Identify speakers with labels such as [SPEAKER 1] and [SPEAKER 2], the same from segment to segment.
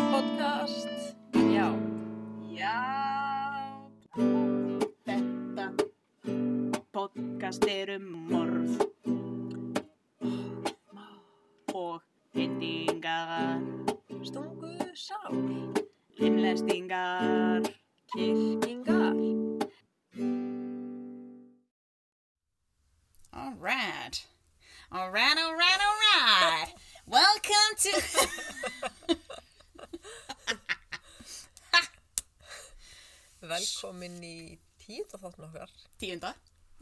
[SPEAKER 1] podcast
[SPEAKER 2] Já,
[SPEAKER 1] Já Þetta podcast er um morð og hendingar
[SPEAKER 2] stungu sál,
[SPEAKER 1] limlestingar
[SPEAKER 2] kirkingar.
[SPEAKER 1] All right. All right, all right, all right. Welcome to
[SPEAKER 2] Velkomin í tíðaþáttin okkar.
[SPEAKER 1] Tíunda.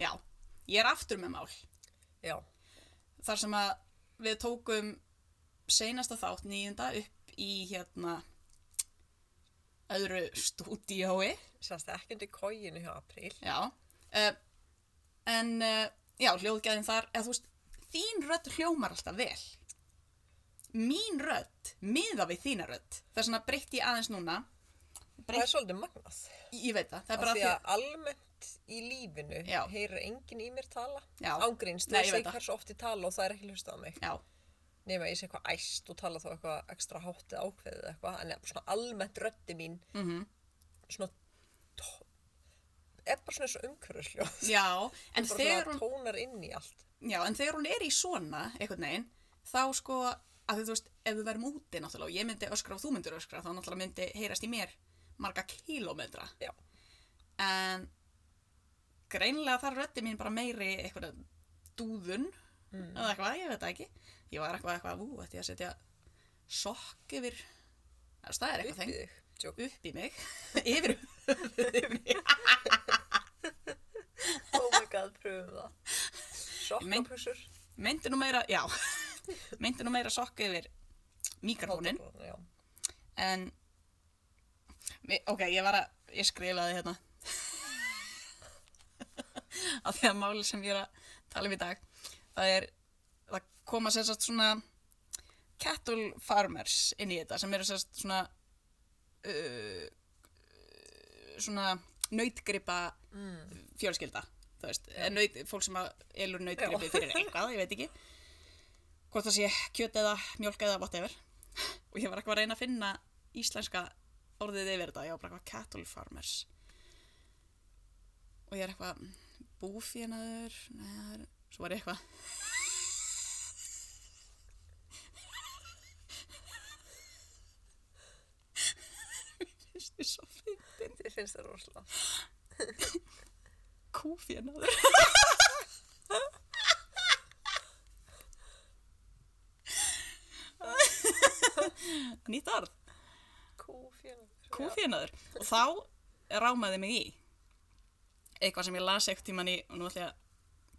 [SPEAKER 1] Já. Ég er aftur með mál.
[SPEAKER 2] Já,
[SPEAKER 1] þar sem að við tókum seinasta þátt nýjunda upp í hérna öðru stúdíói
[SPEAKER 2] sérst ekki undir kóginu hjá apríl.
[SPEAKER 1] já uh, en uh, já, hljóðgæðin þar eða þú veist, þín rödd hljómar alltaf vel mín rödd miða við þína rödd það er svona breytt ég aðeins núna
[SPEAKER 2] Það
[SPEAKER 1] breytt,
[SPEAKER 2] er svolítið magnað.
[SPEAKER 1] ég, ég veit það,
[SPEAKER 2] Af
[SPEAKER 1] það er bara
[SPEAKER 2] því
[SPEAKER 1] því
[SPEAKER 2] að almennt í lífinu
[SPEAKER 1] Já.
[SPEAKER 2] heyrir enginn í mér tala.
[SPEAKER 1] Já.
[SPEAKER 2] Ágrínst,
[SPEAKER 1] Nei,
[SPEAKER 2] þú
[SPEAKER 1] ég veit
[SPEAKER 2] segir
[SPEAKER 1] það.
[SPEAKER 2] hversu oft ég tala og það er ekki hlustað á mig.
[SPEAKER 1] já,
[SPEAKER 2] Nefn að ég sé eitthvað æst og tala þá eitthvað ekstra hátt eða ákveðið eða eitthvað. En svona almennt röddi mín,
[SPEAKER 1] mhm
[SPEAKER 2] svona, tó- er bara svona eins og umhverfisljó.
[SPEAKER 1] já,
[SPEAKER 2] Bara
[SPEAKER 1] en þegar
[SPEAKER 2] svona
[SPEAKER 1] hún
[SPEAKER 2] tónar inn í allt.
[SPEAKER 1] Já, en þegar hún er í svona, einhvern veginn, þá sko, að þú veist, ef við verðum úti náttúrulega og ég myndi öskra og þú myndir öskra, þá náttúrulega myndi heyrast í mér marga kílómetra.
[SPEAKER 2] Já.
[SPEAKER 1] En greinlega þar röddi mín bara meiri einhverja dúðun
[SPEAKER 2] Mm.
[SPEAKER 1] eða eitthvað, ég veit það ekki. Ég var eitthvað eitthvað, ú, ætti ég að setja sokk yfir, það er staðir eitthvað
[SPEAKER 2] Upp í
[SPEAKER 1] þeng,
[SPEAKER 2] þig. Tjók.
[SPEAKER 1] upp í mig, yfir,
[SPEAKER 2] Oh my god, pröfum það. Sokkapusur.
[SPEAKER 1] myndi nú meira, já, myndi nú meira sokk yfir mikrofónin.
[SPEAKER 2] Hálfdagrún, Já.
[SPEAKER 1] En Mi- Ok, ég var að Ég skrifaði hérna Af því að máli sem ég er að tala um í dag Það er Það koma sér satt svona Cattle farmers inn í þetta sem eru sér satt svona uh, Svona Nautgripa
[SPEAKER 2] Mm.
[SPEAKER 1] fjölskylda þú veist, eða naut, fólk sem að elur nautgripi
[SPEAKER 2] Já.
[SPEAKER 1] fyrir eitthvað, ég veit ekki hvort það sé kjöt eða mjólk eða whatever og ég var eitthvað að reyna að finna íslenska orðið yfir þetta, ég var bara eitthvað cattle farmers og ég er eitthvað búfénaður neður, svo var ég eitthvað Mér finnst þið svo fyndin
[SPEAKER 2] Þið finnst það rosalega.
[SPEAKER 1] kúfénaður nýtt orð,
[SPEAKER 2] Kúfénagur.
[SPEAKER 1] kúfénaður og þá rámaði mig í eitthvað sem ég las ekkert tíman í og nú ætla ég að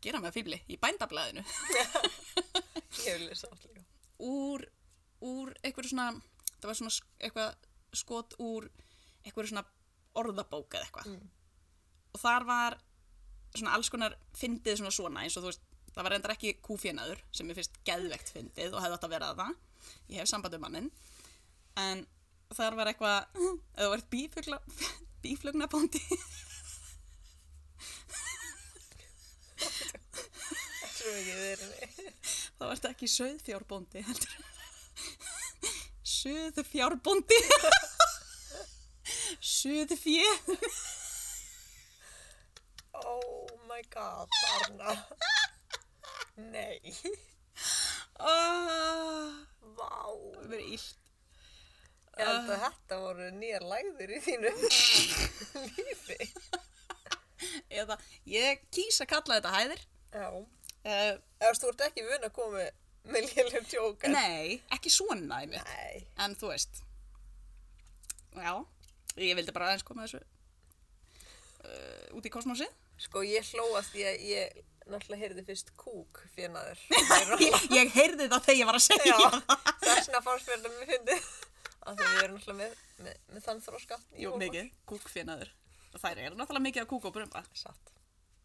[SPEAKER 1] gera mig að fýbli í bændablaðinu
[SPEAKER 2] Ég hef lesað allt líka.
[SPEAKER 1] úr, úr einhverju svona það var svona sk- eitthvað skot úr einhverju svona orðabók eða eitthvað
[SPEAKER 2] Mm.
[SPEAKER 1] og þar var svona alls konar fyndið svona svona eins og þú veist það var reyndar ekki kúfénaður sem er fyrst geðvegt fyndið og hefði átt að vera það ég hef samband um mannin en þar var eitthvað eða þú ert bífugla, bíflugnabóndi
[SPEAKER 2] Svo mikið verið.
[SPEAKER 1] þá ert ekki söðfjárbóndi heldur söðfjárbóndi söðfjö
[SPEAKER 2] Oh my god, Arna. Nei.
[SPEAKER 1] oh,
[SPEAKER 2] Vá.
[SPEAKER 1] það verið illt
[SPEAKER 2] Ég held að þetta voru nýjar lægður í þínu lífi.
[SPEAKER 1] eða ég kýsa kalla þetta hæðir
[SPEAKER 2] Já.
[SPEAKER 1] uh,
[SPEAKER 2] Ef þú ert ekki vun að koma með- með lélum tjókar.
[SPEAKER 1] nei, ekki svona einmitt.
[SPEAKER 2] Nei.
[SPEAKER 1] en þú veist já, ég vildi bara aðeins koma þessu uh, út í kosmosið
[SPEAKER 2] Sko, ég hlóast því að ég náttúrulega heyrði fyrst kúk fjönaður.
[SPEAKER 1] ég, ég heyrði það þegar ég var að segja
[SPEAKER 2] Já,
[SPEAKER 1] það.
[SPEAKER 2] þess vegna fannst mér þetta mjög fyndið. Af því við erum náttúrulega með, með, með þann þróska. í
[SPEAKER 1] jú,
[SPEAKER 2] okkur.
[SPEAKER 1] mikið, kúkfinaður þær eru náttúrulega mikið af kúk og brumba
[SPEAKER 2] Satt.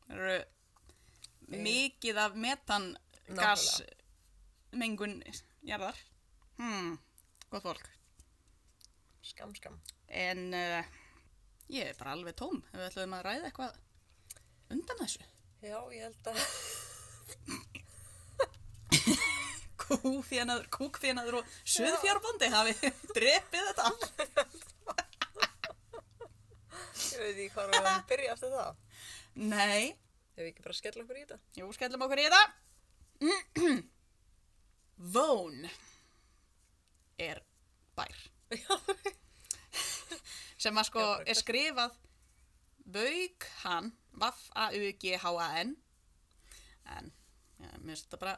[SPEAKER 1] Það eru mikið af metan gas mengun jarðar hmm, gott fólk
[SPEAKER 2] Skam, skam.
[SPEAKER 1] en uh, ég er bara alveg tóm ef við ætlum að ræða eitthvað undan þessu
[SPEAKER 2] Já, ég held að
[SPEAKER 1] kúfénaður, kúkfénaður og suðfjárbandi hafi drepið þetta allt.
[SPEAKER 2] Ég veit ekki hvað við að byrja eftir það.
[SPEAKER 1] Nei,
[SPEAKER 2] Ef við ekki bara skella okkur í þetta.
[SPEAKER 1] jú, skellum okkur í þetta. Vón er bær.
[SPEAKER 2] Já,
[SPEAKER 1] sem að sko
[SPEAKER 2] Já, bara
[SPEAKER 1] er skrifað Vaughan V-A-U-G-H-A-N en ja, mér finnst þetta bara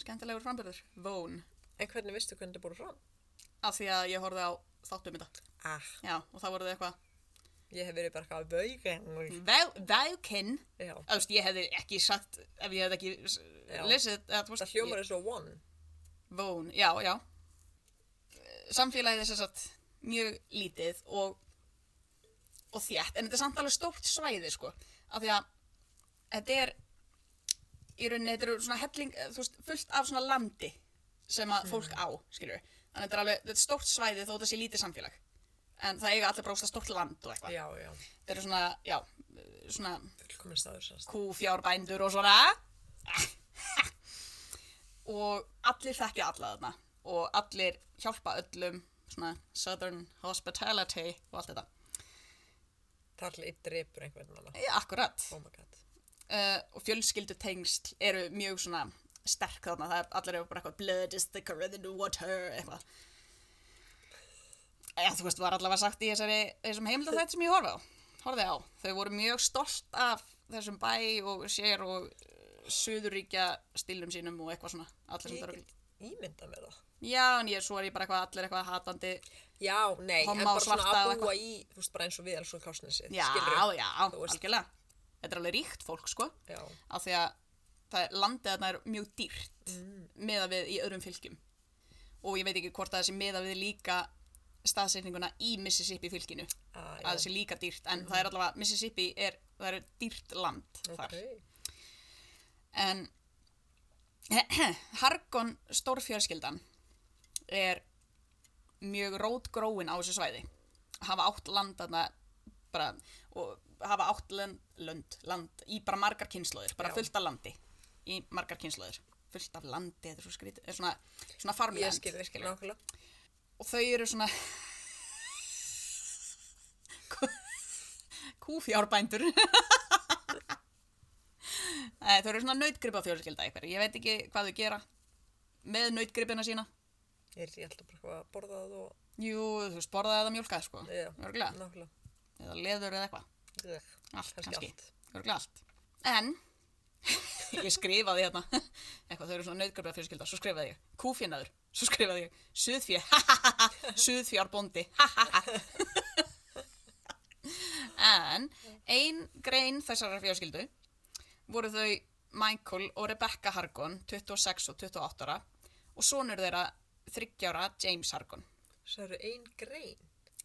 [SPEAKER 1] skemmtilegur frambyrður, Vón
[SPEAKER 2] en hvernig vistu hvernig þetta búið fram?
[SPEAKER 1] af því að ég horfði á þáttum þetta
[SPEAKER 2] Ah,
[SPEAKER 1] já, og þá voru þau eitthvað
[SPEAKER 2] ég hef verið bara eitthvað vaugan.
[SPEAKER 1] Vau- Vaughan
[SPEAKER 2] Já,
[SPEAKER 1] Þú veist, ég hefði ekki sagt ef ég hefði ekki s-
[SPEAKER 2] Já.
[SPEAKER 1] lesið eða, þú veist,
[SPEAKER 2] það hljómar eins og one.
[SPEAKER 1] Vón, já, já samfélagið er sem sagt mjög lítið og og þétt, en þetta er samt alveg stórt svæði sko, af því að þetta er í rauninni, þetta eru svona helling, eh, þú veist, fullt af svona landi sem að fólk á, skilur við þannig að þetta er alveg, þetta er stórt svæði þó þetta sé lítið samfélag en það eiga allir brósta stórt land og eitthvað
[SPEAKER 2] Já, já.
[SPEAKER 1] þetta eru svona, já, eh, svona
[SPEAKER 2] Fullkomin staður sérst.
[SPEAKER 1] kúfjárbændur og svona og allir þekkja alla þarna og allir hjálpa öllum svona southern hospitality og allt þetta
[SPEAKER 2] Það er allir í drepur einhvern veginn.
[SPEAKER 1] ja, akkurat
[SPEAKER 2] Oh my god.
[SPEAKER 1] uh, og fjölskyldutengsl eru mjög svona sterk þarna, það er allir eru bara eitthvað blood is thicker than the water eitthvað Já, þú veist, var allavega sagt í þessari, þessum heimildafætt sem ég horfði á, horfði á. Þau voru mjög stolt af þessum bæ og sér og uh, suðuríkja stílum sínum og eitthvað svona. Allir sem
[SPEAKER 2] Ég
[SPEAKER 1] það
[SPEAKER 2] get ímynda með það.
[SPEAKER 1] Já, en ég, svo er ég bara eitthvað, allir eitthvað hatandi.
[SPEAKER 2] Já, nei,
[SPEAKER 1] Homma
[SPEAKER 2] en
[SPEAKER 1] og
[SPEAKER 2] bara svona
[SPEAKER 1] svarta
[SPEAKER 2] að
[SPEAKER 1] og
[SPEAKER 2] búa í, þú veist, bara eins og við erum svo kásnesi.
[SPEAKER 1] Já, já,
[SPEAKER 2] Þú veist.
[SPEAKER 1] algjörlega. Þetta er alveg ríkt fólk, sko,
[SPEAKER 2] Já,
[SPEAKER 1] af því að það er- landið þarna er mjög dýrt mm. meða við í öðrum fylgjum. Og ég veit ekki hvort að þessi meða við líka staðsetninguna í Mississippi fylginu.
[SPEAKER 2] að,
[SPEAKER 1] að það sé líka dýrt en það er allavega, Mississippi er það er dýrt land þar
[SPEAKER 2] Ok,
[SPEAKER 1] en Harkon stórfjörskildan er mjög rótgróin á þessu svæði hafa átt land þarna bara, og hafa átt lönd, lönd, land í bara margar kynnslóðir bara
[SPEAKER 2] Já.
[SPEAKER 1] fullt af landi í margar kynnslóðir fullt af landi, þetta er svo skrítið er svona, svona
[SPEAKER 2] ég
[SPEAKER 1] farmland
[SPEAKER 2] skil virkilega
[SPEAKER 1] skilurðu.
[SPEAKER 2] nákvæmlega.
[SPEAKER 1] og þau eru svona Kú- kúfjárbændur Nei, þau eru svona nautgripa fjölskylda eitthvað, ég veit ekki hvað þau gera með nautgripina sína
[SPEAKER 2] Ég er ég held að bara eitthvað að borða það og,
[SPEAKER 1] jú, þú veist, borðaði eða mjólkaði sko
[SPEAKER 2] já,
[SPEAKER 1] örgulega,
[SPEAKER 2] nákvæmlega.
[SPEAKER 1] eða leður eða eitthvað
[SPEAKER 2] Ugh,
[SPEAKER 1] allt
[SPEAKER 2] kannski
[SPEAKER 1] kannski,
[SPEAKER 2] allt.
[SPEAKER 1] örgulega allt en, ég skrifaði hérna eitthvað, þau eru svona nautgripa fjölskylda svo skrifaði ég, kúfjinaður, svo skrifaði ég suðfjö, suðfjárbondi en ein grein þessarar fjölskyldu voru þau Michael og Rebecca Hargon 26 og 28 ára og sonur þeirra 30 ára James Hargon
[SPEAKER 2] Svo eru ein grein.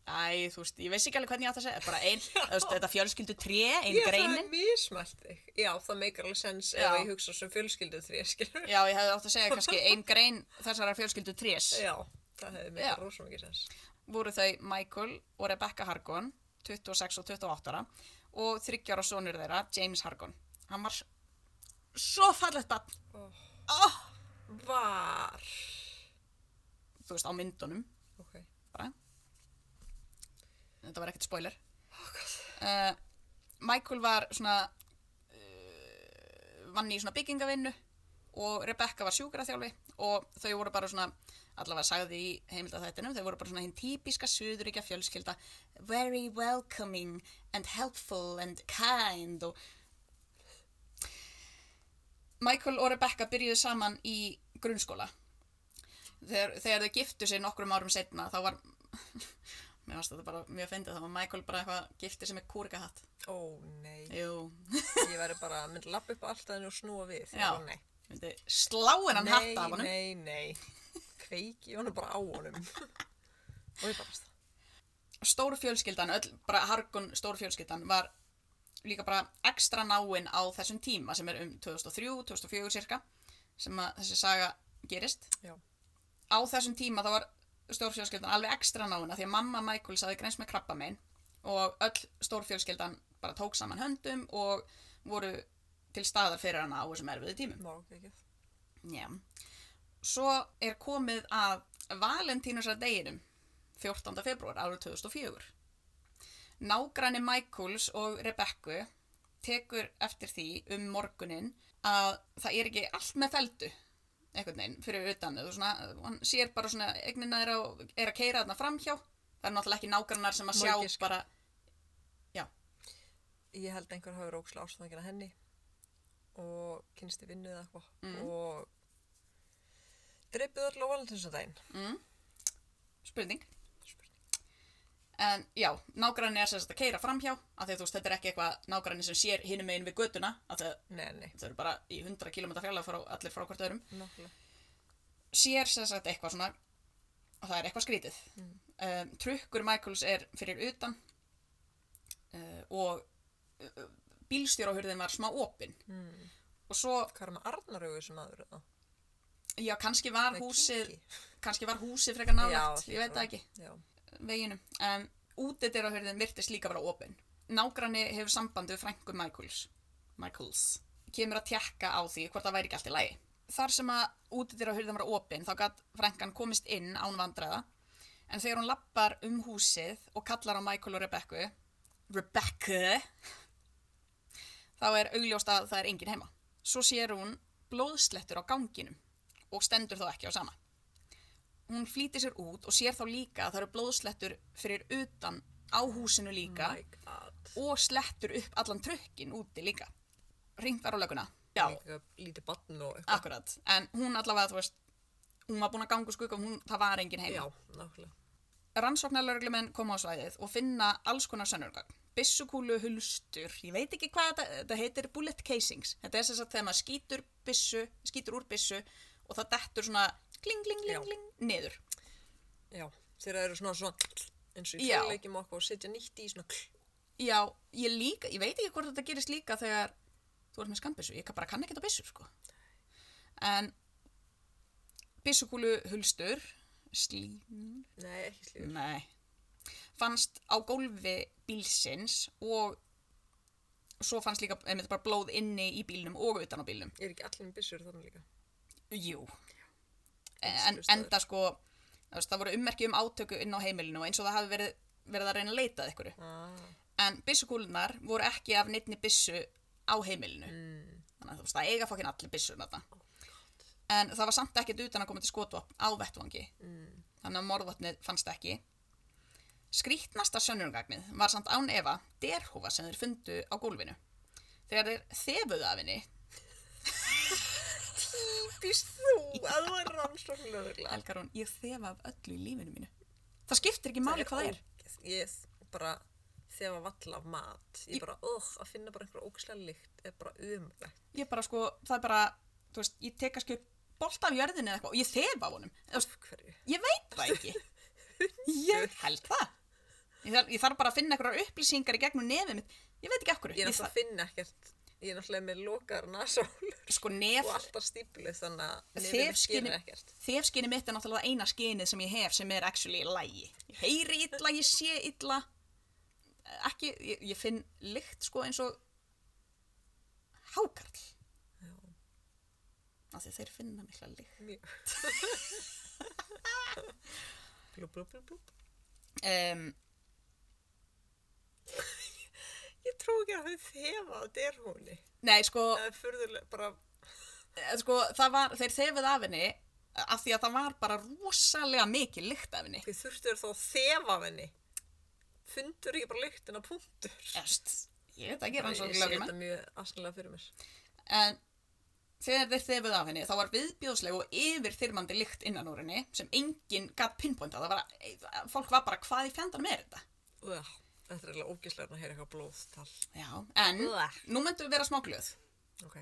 [SPEAKER 1] Æ, þú veist, ég veist ekki alveg hvernig ég átt að segja bara ein, þú veist, þetta fjölskyldu 3, ein
[SPEAKER 2] Ég það er
[SPEAKER 1] greinin
[SPEAKER 2] mismælt þig. Já, það meikar alveg sens
[SPEAKER 1] Já.
[SPEAKER 2] ef ég hugsa sem fjölskyldu því, skilur.
[SPEAKER 1] Já, ég hefði átt að segja kannski ein grein þessarar fjölskyldu 3
[SPEAKER 2] Já, það hefði
[SPEAKER 1] Já.
[SPEAKER 2] meikar rosa mikið sens.
[SPEAKER 1] voru þau Michael og Rebecca Hargon 26 og 28 ára og 30 ára sonur þeirra, James Hargon hann var s- svo fallegt bann
[SPEAKER 2] Var.
[SPEAKER 1] þú veist, á myndunum
[SPEAKER 2] Ok.
[SPEAKER 1] bara þetta var ekkert spoiler
[SPEAKER 2] Oh,
[SPEAKER 1] uh, Michael var svona uh, vann í svona byggingavinnu og Rebecca var sjúkraþjálfi og þau voru bara svona allavega sagði í heimildaþættinum þau voru bara svona hinn típiska suðuríkja fjölskylda very welcoming and helpful and kind og Michael og Rebecca byrjuðu saman í grunnskóla þegar, þegar þau giftu sig nokkrum árum setna þá var mér varst þetta bara mjög fyndið þá var Michael bara eitthvað giftið sem er kúrikahatt
[SPEAKER 2] Ó, nei.
[SPEAKER 1] Jú,
[SPEAKER 2] Ég væri bara að mynda lappa upp allt að henni og snúa við.
[SPEAKER 1] Já.
[SPEAKER 2] Ó, Nei,
[SPEAKER 1] myndi sláin hann hatt af
[SPEAKER 2] nei,
[SPEAKER 1] honum
[SPEAKER 2] nei, nei. Kveiki honum bara á honum. og ég bara veist það.
[SPEAKER 1] stór fjölskyldan, öll, bara Harkon stór fjölskyldan var líka bara ekstra náinn á þessum tíma sem er um 2003, 2004 cirka sem að þessi saga gerist
[SPEAKER 2] Já.
[SPEAKER 1] á þessum tíma þá var stórfjölskyldan alveg ekstra náina því að mamma Michael saði greins með krabba minn og öll stórfjölskyldan bara tók saman höndum og voru til staðar fyrir hana á þessum erfiðu tímum.
[SPEAKER 2] Má, ekki.
[SPEAKER 1] Já. svo er komið að Valentínusar deginum 14. februar árið 2004 nágræni Michaels og Rebekku tekur eftir því um morgunin að það er ekki allt með feldu einhvern veginn fyrir utan þú svona, hann sér bara svona eignina er að, er að keira þarna framhjá það er náttúrulega ekki nágrannar sem að sjá
[SPEAKER 2] Má ég giska?
[SPEAKER 1] bara,
[SPEAKER 2] ég held að einhver hafi rókslega ástofangina henni og kynsti vinnu eða eitthvað
[SPEAKER 1] Mm.
[SPEAKER 2] og dreipið öll á valentinsadaginn
[SPEAKER 1] spurning En já, nágranni er sem sagt að keira framhjá af því að þú veist, þetta er ekki eitthvað nágranni sem sér hinum megin við götuna af því að
[SPEAKER 2] Nei, nei,
[SPEAKER 1] þau eru bara í 100 km fjarlæg frá allir frá hvort öðrum
[SPEAKER 2] nokkulega
[SPEAKER 1] sér sem sagt eitthvað svona og það er eitthvað skrítið
[SPEAKER 2] Mm.
[SPEAKER 1] um, trukkur Michaels er fyrir utan uh, og uh, bílstjórahurðin var smá opin
[SPEAKER 2] mm.
[SPEAKER 1] og svo,
[SPEAKER 2] Hvað er með Arnaraugu sem aður það?
[SPEAKER 1] já, kannski var
[SPEAKER 2] Með
[SPEAKER 1] húsið
[SPEAKER 2] kinki.
[SPEAKER 1] kannski var húsið frekar nálægt,
[SPEAKER 2] Já,
[SPEAKER 1] ég veit
[SPEAKER 2] hlýtur
[SPEAKER 1] það
[SPEAKER 2] að-
[SPEAKER 1] ekki
[SPEAKER 2] Já,
[SPEAKER 1] veginum en útidyrahurðin virtist líka vera opin nágranni hefur samband við frængu Michaels Michaels kemur að tjekka á því hvort það væri ekki allt í lagi þar sem að útidyrahurðin var opin þá gatt frængan komist inn án vandræða en þegar hún lappar um húsið og kallar á Michael og Rebekku Rebekku þá er augljóst að það er enginn heima svo sér hún blóðslettur á ganginum og stendur þá ekki á sama hún flýtir sér út og sér þá líka að það eru blóðslettur fyrir utan á húsinu líka
[SPEAKER 2] my god
[SPEAKER 1] og slettur upp allan trökkin úti líka ringt var á löguna já,
[SPEAKER 2] Líka Lítið barn og eitthvað
[SPEAKER 1] akkurat en hún allavega, þú veist hún var búin að ganga úr skugga, hún, það var enginn heima
[SPEAKER 2] Já, nokkulega
[SPEAKER 1] rannsóknarlauruglumenn koma á svæðið og finna alls konar sönnurgagn byssukúlu hulstur, ég veit ekki hvað þetta, þetta heitir bullet casings þetta er sem sagt þegar maður skýtur, byssu, skýtur úr byssu og það dettur svona kling, kling,
[SPEAKER 2] Já.
[SPEAKER 1] kling, kling, niður
[SPEAKER 2] Já, þegar það eru svona svona eins og í
[SPEAKER 1] Já.
[SPEAKER 2] tölvleikjum okkur og setja nýtt í svona
[SPEAKER 1] Já, ég líka, ég veit ekki hvort þetta gerist líka þegar þú ert með skambissu, ég kann- bara kann ekki þetta byssur sko. En byssukúlu hulstur, slím,
[SPEAKER 2] Nei, ekki slíður
[SPEAKER 1] nei, fannst á gólfi bílsins og svo fannst líka einmitt bara blóð inni í bílnum og utan á bílnum.
[SPEAKER 2] Er ekki allir með byssur þannig líka?
[SPEAKER 1] Jú, en, enda sko, þú veist, það voru ummerki um átöku inn á heimilinu og eins og það hafi verið, verið að reyna að leita að ykkur
[SPEAKER 2] Ah,
[SPEAKER 1] en byssukúlunar voru ekki af neittni byssu á heimilinu
[SPEAKER 2] mm. Oh
[SPEAKER 1] þannig að þú veist það eiga fokkin allir byssur þetta en það var samt ekkert utan að koma til skotvopn á vettvangi
[SPEAKER 2] Mm.
[SPEAKER 1] þannig að morðvopnið fannst ekki skrítnasta sönnurgagnið var samt án efa derhúfa sem þeir fundu á gólfinu þegar þeir þefuðu af henni
[SPEAKER 2] Býst þú að það er rannsóknlega
[SPEAKER 1] Helgar hún, ég þefa af öllu í lífinu mínu það skiptir ekki máli hvað það er
[SPEAKER 2] Ég bara þegar var vall af mat ég bara, ögh, að finna bara einhver ókslega lykt er bara umlegt
[SPEAKER 1] ég bara sko, það er bara þú veist, ég tek að skjöp bolt af jörðinu eða eitthvað og ég þefa af honum Þú veist,
[SPEAKER 2] hverju
[SPEAKER 1] Ég veit það ekki. Ég held það. Ég þarf, ég þarf bara að finna einhverjar upplýsingar í gegnum nefið mitt. Ég veit ekki af hverju.
[SPEAKER 2] ég er
[SPEAKER 1] ég
[SPEAKER 2] náttúrulega að finna ekkert ég er náttúrulega með lokar nasál
[SPEAKER 1] þarf, sko
[SPEAKER 2] og
[SPEAKER 1] nef,
[SPEAKER 2] alltaf stíplið þannig að nefnum
[SPEAKER 1] Þefskynið-
[SPEAKER 2] skilur ekkert
[SPEAKER 1] þefskinni mitt er náttúrulega það eina skinið sem ég hef sem er actually lægi. Ég heyri illa, ég sé illa. Ekki, ég, ég finn lykt sko eins og hákarl. Af því þeir finna mikla lykt.
[SPEAKER 2] Mjög. blú, blú, blú, blú.
[SPEAKER 1] Um,
[SPEAKER 2] ég trú ekki að þau þefa að þetta er húnni
[SPEAKER 1] nei, sko...
[SPEAKER 2] það er furðulega bara
[SPEAKER 1] Eh, sko, það var, þeir þefið af henni af því að það var bara rosalega mikið lykt af henni
[SPEAKER 2] þau þurftur þá að þefa af henni fundur ekki bara lyktin að punktur
[SPEAKER 1] Erst, ég veit ekki,
[SPEAKER 2] ég sé
[SPEAKER 1] rannsókn lögum
[SPEAKER 2] þetta mjög asnalega fyrir mér
[SPEAKER 1] en þegar þeir þefið af henni þá var viðbjóðsleg og yfirþyrmandi lykt innan úr henni sem enginn gatt pinpointa það var, eh, fólk var bara hvað í fjandanum er þetta
[SPEAKER 2] Uah, þetta er eiginlega ógislega að heyra eitthvað blóðtal
[SPEAKER 1] Já, en
[SPEAKER 2] Uah.
[SPEAKER 1] nú myndum við vera smá glöð
[SPEAKER 2] ok,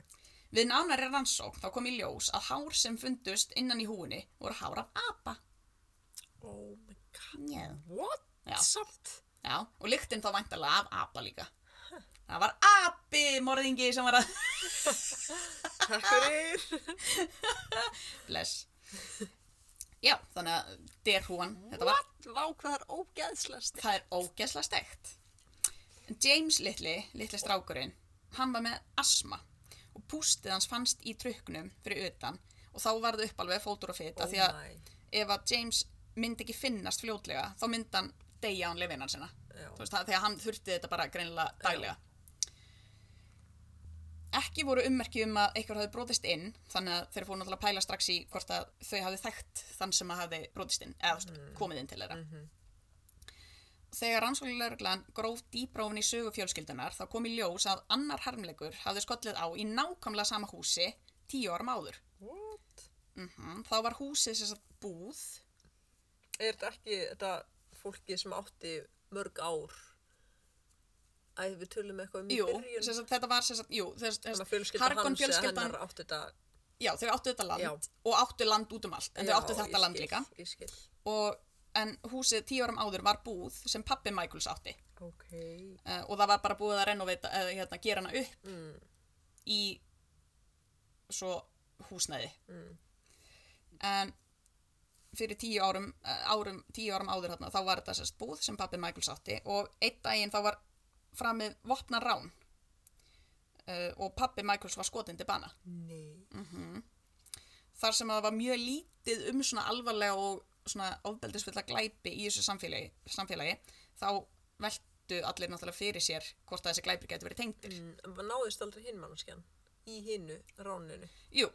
[SPEAKER 1] Við nánari rannsókn þá kom í ljós að hár sem fundust innan í húinni voru hár af apa.
[SPEAKER 2] oh my god
[SPEAKER 1] Já.
[SPEAKER 2] what,
[SPEAKER 1] Já.
[SPEAKER 2] samt
[SPEAKER 1] Já, og lyktin þá væntalega af apa líka. Það var api morðingi sem var að
[SPEAKER 2] takk fyrir
[SPEAKER 1] Bless. Já, þannig að derhúan, þetta var,
[SPEAKER 2] what, vá hvað það er ógeðslega stið
[SPEAKER 1] það er ógeðslega steikt. En James litli, litli strákurinn, hann var með asma og pústið hans fannst í trukknum fyrir utan og þá varði upp alveg fótur og fit af því
[SPEAKER 2] Oh
[SPEAKER 1] að
[SPEAKER 2] my.
[SPEAKER 1] ef að James myndi ekki finnast fljótlega þá myndi hann deyja án lifinan sinna
[SPEAKER 2] Já.
[SPEAKER 1] þú veist það þegar hann þurfti þetta bara greinilega daglega ekki voru ummerki um að einhver hafði brotist inn þannig að þeir fóru náttúrulega að pæla strax í hvort að þau hafði þekkt þann sem að hafði brotist inn eða mm. komið inn til þeirra
[SPEAKER 2] Mhm.
[SPEAKER 1] þegar rannsóknulegurglan gróf dýbra ofan í sögu fjölskyldunar þá kom í ljós að annar harmleikur hafði skollið á í nákvæmlega sama húsi tíu árum áður
[SPEAKER 2] What?
[SPEAKER 1] mm þá var húsið sem sagt búð
[SPEAKER 2] Er þetta ekki þetta fólki sem átti mörg ár? Æ, við tölum eitthvað um í
[SPEAKER 1] Jú,
[SPEAKER 2] byrjun.
[SPEAKER 1] sem sagt, þetta var sem sagt, jú, þess,
[SPEAKER 2] Þannig að
[SPEAKER 1] þess,
[SPEAKER 2] fjölskylda
[SPEAKER 1] Harkon
[SPEAKER 2] hans eða
[SPEAKER 1] fjölskyldan,
[SPEAKER 2] hennar átti þetta.
[SPEAKER 1] já, þau áttu þetta land
[SPEAKER 2] Já.
[SPEAKER 1] og áttu land út um allt, en
[SPEAKER 2] Já,
[SPEAKER 1] þau áttu þetta
[SPEAKER 2] ég
[SPEAKER 1] land
[SPEAKER 2] skil,
[SPEAKER 1] líka.
[SPEAKER 2] Ég skil.
[SPEAKER 1] Og, en húsið tíu árum áður var búð sem pappi Michaels átti
[SPEAKER 2] Ok.
[SPEAKER 1] uh, og það var bara búið að renovita, uh, hérna, gera hana upp
[SPEAKER 2] Mm.
[SPEAKER 1] í svo húsnæði.
[SPEAKER 2] Mm.
[SPEAKER 1] En fyrir tíu árum, uh, árum, tíu árum áður þarna, þá var þetta sérst búð sem pappi Michaels átti og einn daginn þá var framið vopna rán uh, og pappi Michaels var skotin til bana.
[SPEAKER 2] Nei.
[SPEAKER 1] þar sem að það var mjög lítið um svona alvarlega og svona ofbeldisfulla glæpi í þessu samfélagi, samfélagi þá veltu allir náttúrulega fyrir sér hvort að þessi glæpir getur verið tengdir.
[SPEAKER 2] Mm, en maður náðist aldrei hinn mannskjan í hinnu ráninu.
[SPEAKER 1] Jú,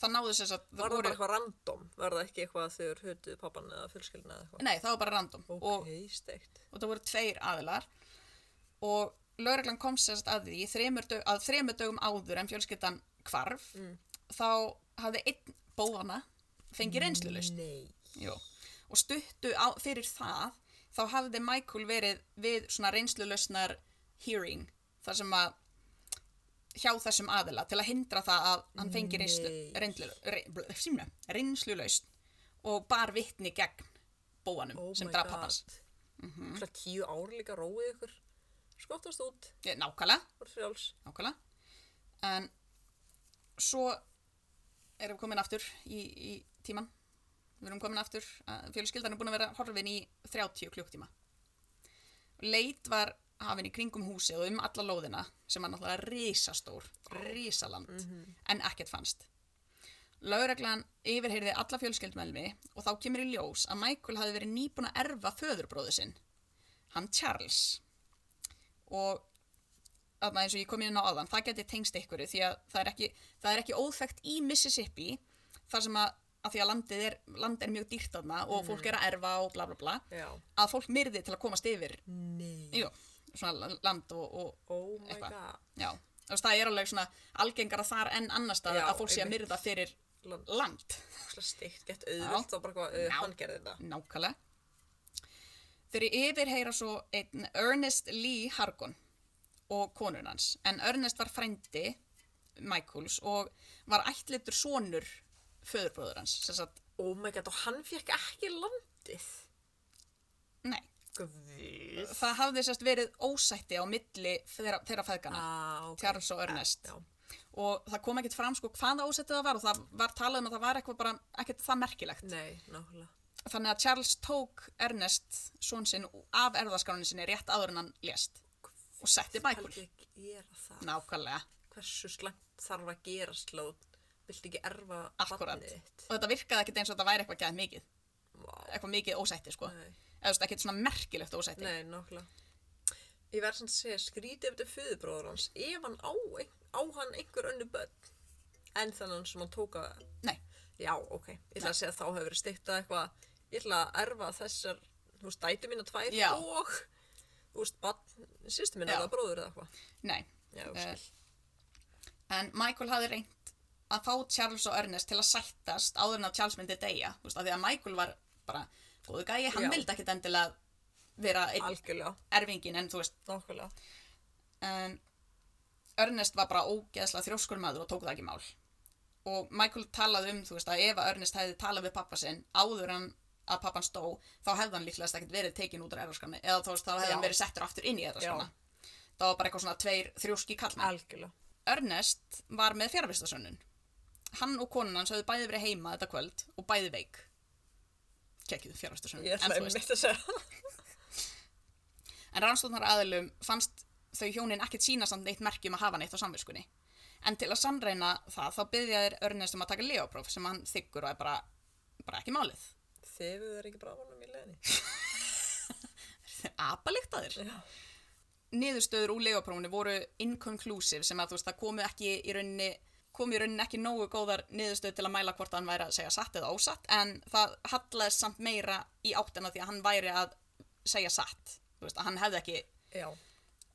[SPEAKER 1] það náðu sér að
[SPEAKER 2] Mm. Var
[SPEAKER 1] það
[SPEAKER 2] það bara
[SPEAKER 1] voru...
[SPEAKER 2] eitthvað random? Var það ekki eitthvað að þau eru hötuð pappan eða fjölskyldina eða eitthvað?
[SPEAKER 1] Nei, það var bara random og,
[SPEAKER 2] Ok, steikt.
[SPEAKER 1] og það voru tveir aðilar og lögreglan kom sérst að því þremur dög, að þremur dögum áður en fjölskyldan hvarf
[SPEAKER 2] Mm.
[SPEAKER 1] þá hafði einn bóðana
[SPEAKER 2] Mm.
[SPEAKER 1] fengið reynslulust.
[SPEAKER 2] Nei.
[SPEAKER 1] Jú. Og stuttu á, fyrir það, þá hafði Michael verið við svona reynslulausnar hearing, þar sem að hjá þessum aðila til að hindra það að hann fengi reynslu,
[SPEAKER 2] Nei.
[SPEAKER 1] reynslu, reynslu, reynslulausn og bar vittni gegn bóanum
[SPEAKER 2] Oh
[SPEAKER 1] sem Mhm.
[SPEAKER 2] my
[SPEAKER 1] draf
[SPEAKER 2] god.
[SPEAKER 1] pappans.
[SPEAKER 2] Svona tíu ár líka róið ykkur. Skottast út,
[SPEAKER 1] Eh, Nákvæmlega,
[SPEAKER 2] voru frjáls.
[SPEAKER 1] nákvæmlega. En svo erum við komin aftur í, í tíman. Við erum komin aftur, að fjölskyldan er búin að vera horfin í 30 klukktíma. Leit var hafin í kringum húsið og um alla lóðina sem var náttúrulega risastór, risaland, en ekkert fannst. Lögreglan yfirheyrði alla fjölskyldmelmi og þá kemur í ljós að Michael hafi verið nýbúin að erfa föðurbróðu sinn, hann Charles. Og þarna eins og ég kom inn á áðan, það geti tengst einhverju því að það er ekki, það er ekki óþekkt í Mississippi þar sem að, að því að landið er, land er mjög dýrt þarna og fólk er að erfa og bla bla bla
[SPEAKER 2] Já.
[SPEAKER 1] að fólk myrði til að komast yfir
[SPEAKER 2] Nei.
[SPEAKER 1] jú, svona la- land og, og
[SPEAKER 2] Oh my
[SPEAKER 1] Eitthvað.
[SPEAKER 2] god.
[SPEAKER 1] já, þú veist, það er alveg svona algengara þar en annars staðar
[SPEAKER 2] Já,
[SPEAKER 1] að fólk sé að
[SPEAKER 2] einmitt.
[SPEAKER 1] myrða fyrir
[SPEAKER 2] Land,
[SPEAKER 1] land
[SPEAKER 2] svona steikt, gett auðvöld, þá bara hvað, uh,
[SPEAKER 1] Já.
[SPEAKER 2] hann gerði þetta.
[SPEAKER 1] Nákvæmlega. Þeir yfirheyra svo einn Ernest Lee Hargon og konun hans. En Ernest var frændi Michaels og var ættlitur sonur föðurbróður hans. Sess að,
[SPEAKER 2] Oh my god, og hann fekk ekki landið.
[SPEAKER 1] nei,
[SPEAKER 2] Guð.
[SPEAKER 1] það hafði sérst verið ósætti á milli þeirra, þeirra feðgana,
[SPEAKER 2] Ah, ok.
[SPEAKER 1] Charles og Ernest.
[SPEAKER 2] Já.
[SPEAKER 1] Og það kom ekkert fram sko hvaða ósætti það var og það var talað um að það var eitthvað bara ekkert það merkilegt.
[SPEAKER 2] Nei, nákvæmlega.
[SPEAKER 1] Þannig að Charles tók Ernest son sinn af erðaskránin sinni rétt áður en hann lést og setti Michael.
[SPEAKER 2] Helgi að gera það.
[SPEAKER 1] Nákvæmlega.
[SPEAKER 2] Hversu slæmt þarf að gera slóð? Vilt ekki erfa
[SPEAKER 1] Akkurat.
[SPEAKER 2] barnið þitt?
[SPEAKER 1] Og þetta virkaði ekkert eins og þetta væri eitthvað gæð mikið.
[SPEAKER 2] Vá.
[SPEAKER 1] Eitthvað mikið ósætti, sko.
[SPEAKER 2] Nei.
[SPEAKER 1] Eða þú veist, ekkert svona merkilegt ósætti.
[SPEAKER 2] Nei, nákvæmlega. Ég verð sem að segja, skrítið eftir föðubróður hans, ef hann á, ein- á hann einhver önnu börn, en þannig sem hann tók að,
[SPEAKER 1] Nei.
[SPEAKER 2] já, ok, ég ætla að segja að þá hefur verið steikt að eitthvað, ég ætla að erfa þessar, þú veist, dætu mína tvær
[SPEAKER 1] Já.
[SPEAKER 2] og, þú veist, barn, sýstu mín
[SPEAKER 1] Já.
[SPEAKER 2] eða bróður eða eitthvað.
[SPEAKER 1] Nei.
[SPEAKER 2] Já, ég
[SPEAKER 1] Eh,
[SPEAKER 2] skil.
[SPEAKER 1] en Michael hafði reynt að fá Charles og Ernest til að sættast áður en að Charles myndi deyja. Þú veist, af því að Michael var bara góðu gæi, hann
[SPEAKER 2] Já.
[SPEAKER 1] vildi ekkert endilega vera einn
[SPEAKER 2] Algjörlega,
[SPEAKER 1] erfingin, en þú veist,
[SPEAKER 2] nákvæmlega.
[SPEAKER 1] en Ernest var bara ógeðslega þrjóskur maður og tók það ekki mál og Michael talaði um þú veist að ef að Ernest hefði talað við pappa sinn áður en að pappan stó þá hefði hann líklegast ekkert verið tekin út á erðarskanni eða þú veist þá hefði
[SPEAKER 2] Já.
[SPEAKER 1] hann verið settur aftur inn í erðarskanna það var bara eitthvað svona tveir þrjóski kallmenn
[SPEAKER 2] Algjörlega.
[SPEAKER 1] Ernest var með fjárvistasönnun hann og konan hans hefði bæði verið heima þetta kvöld og bæði veik kekkið fjárvistasönnun
[SPEAKER 2] Ég
[SPEAKER 1] en
[SPEAKER 2] ætla
[SPEAKER 1] þú
[SPEAKER 2] að
[SPEAKER 1] veist
[SPEAKER 2] mitt að segja það.
[SPEAKER 1] en rannsóknar aðilum fannst þau hjónin ekkert sína samt neitt merki um að hafa neitt á samviskunni. En til að sannreina það, þá byggði þér Örnest um að taka leopróf sem hann þykkur og er bara, bara ekki málið.
[SPEAKER 2] Þefuð er ekki bráðanum í leðinni.
[SPEAKER 1] Apalíkt að þér.
[SPEAKER 2] Já.
[SPEAKER 1] Niðurstöður úr leoprófunu voru inconclusive sem að þú veist, það komu ekki í rauninni komu í rauninni ekki nógu góðar niðurstöð til að mæla hvort hann væri að segja satt eða ósatt en það hallaðist samt meira í áttina því að hann væri að segja satt þú veist að hann hefði ekki
[SPEAKER 2] Já.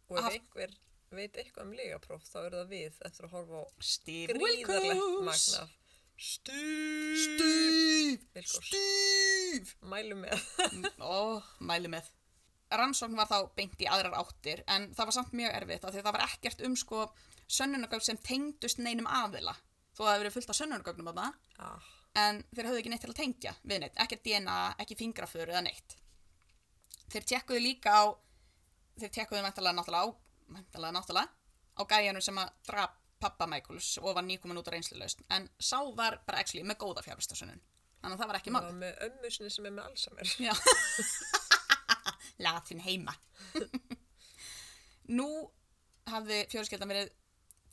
[SPEAKER 2] Og ef
[SPEAKER 1] Haf-
[SPEAKER 2] einhver veit eitthvað um legapróf þá eru það við eftir að horfa á
[SPEAKER 1] Steve
[SPEAKER 2] gríðarlegt
[SPEAKER 1] Wilkos
[SPEAKER 2] magna. Stýr.
[SPEAKER 1] Steve
[SPEAKER 2] Wilkos.
[SPEAKER 1] Steve
[SPEAKER 2] Mælum með.
[SPEAKER 1] Mm, Ó, mæli með. Rannsókn var þá beint í aðrar áttir en það var samt mjög erfitt af því að það var ekkert um sko sönnunagögn sem tengdust neinum aðila. Þó að það hefur verið fullt af sönnunagögnum af það
[SPEAKER 2] ah.
[SPEAKER 1] en þeir höfðu ekki neitt til að tengja við neitt, ekkert DNA, ekki fingraför eða neitt. Þeir tekkuðu líka á, þeir tekkuðu mæntalega náttúrulega á, mæntalega náttúrulega á gæjanum sem að drap pappa Michaels og var nýkomin út á reynslulaust en sá var bara actually með góða fjárvistarsönnun. Þannig að það var ekki mál.
[SPEAKER 2] Og með ömmu sinni sem er með Alzheimer.
[SPEAKER 1] Já. Latin heima. Nú hafði fjölskyldan verið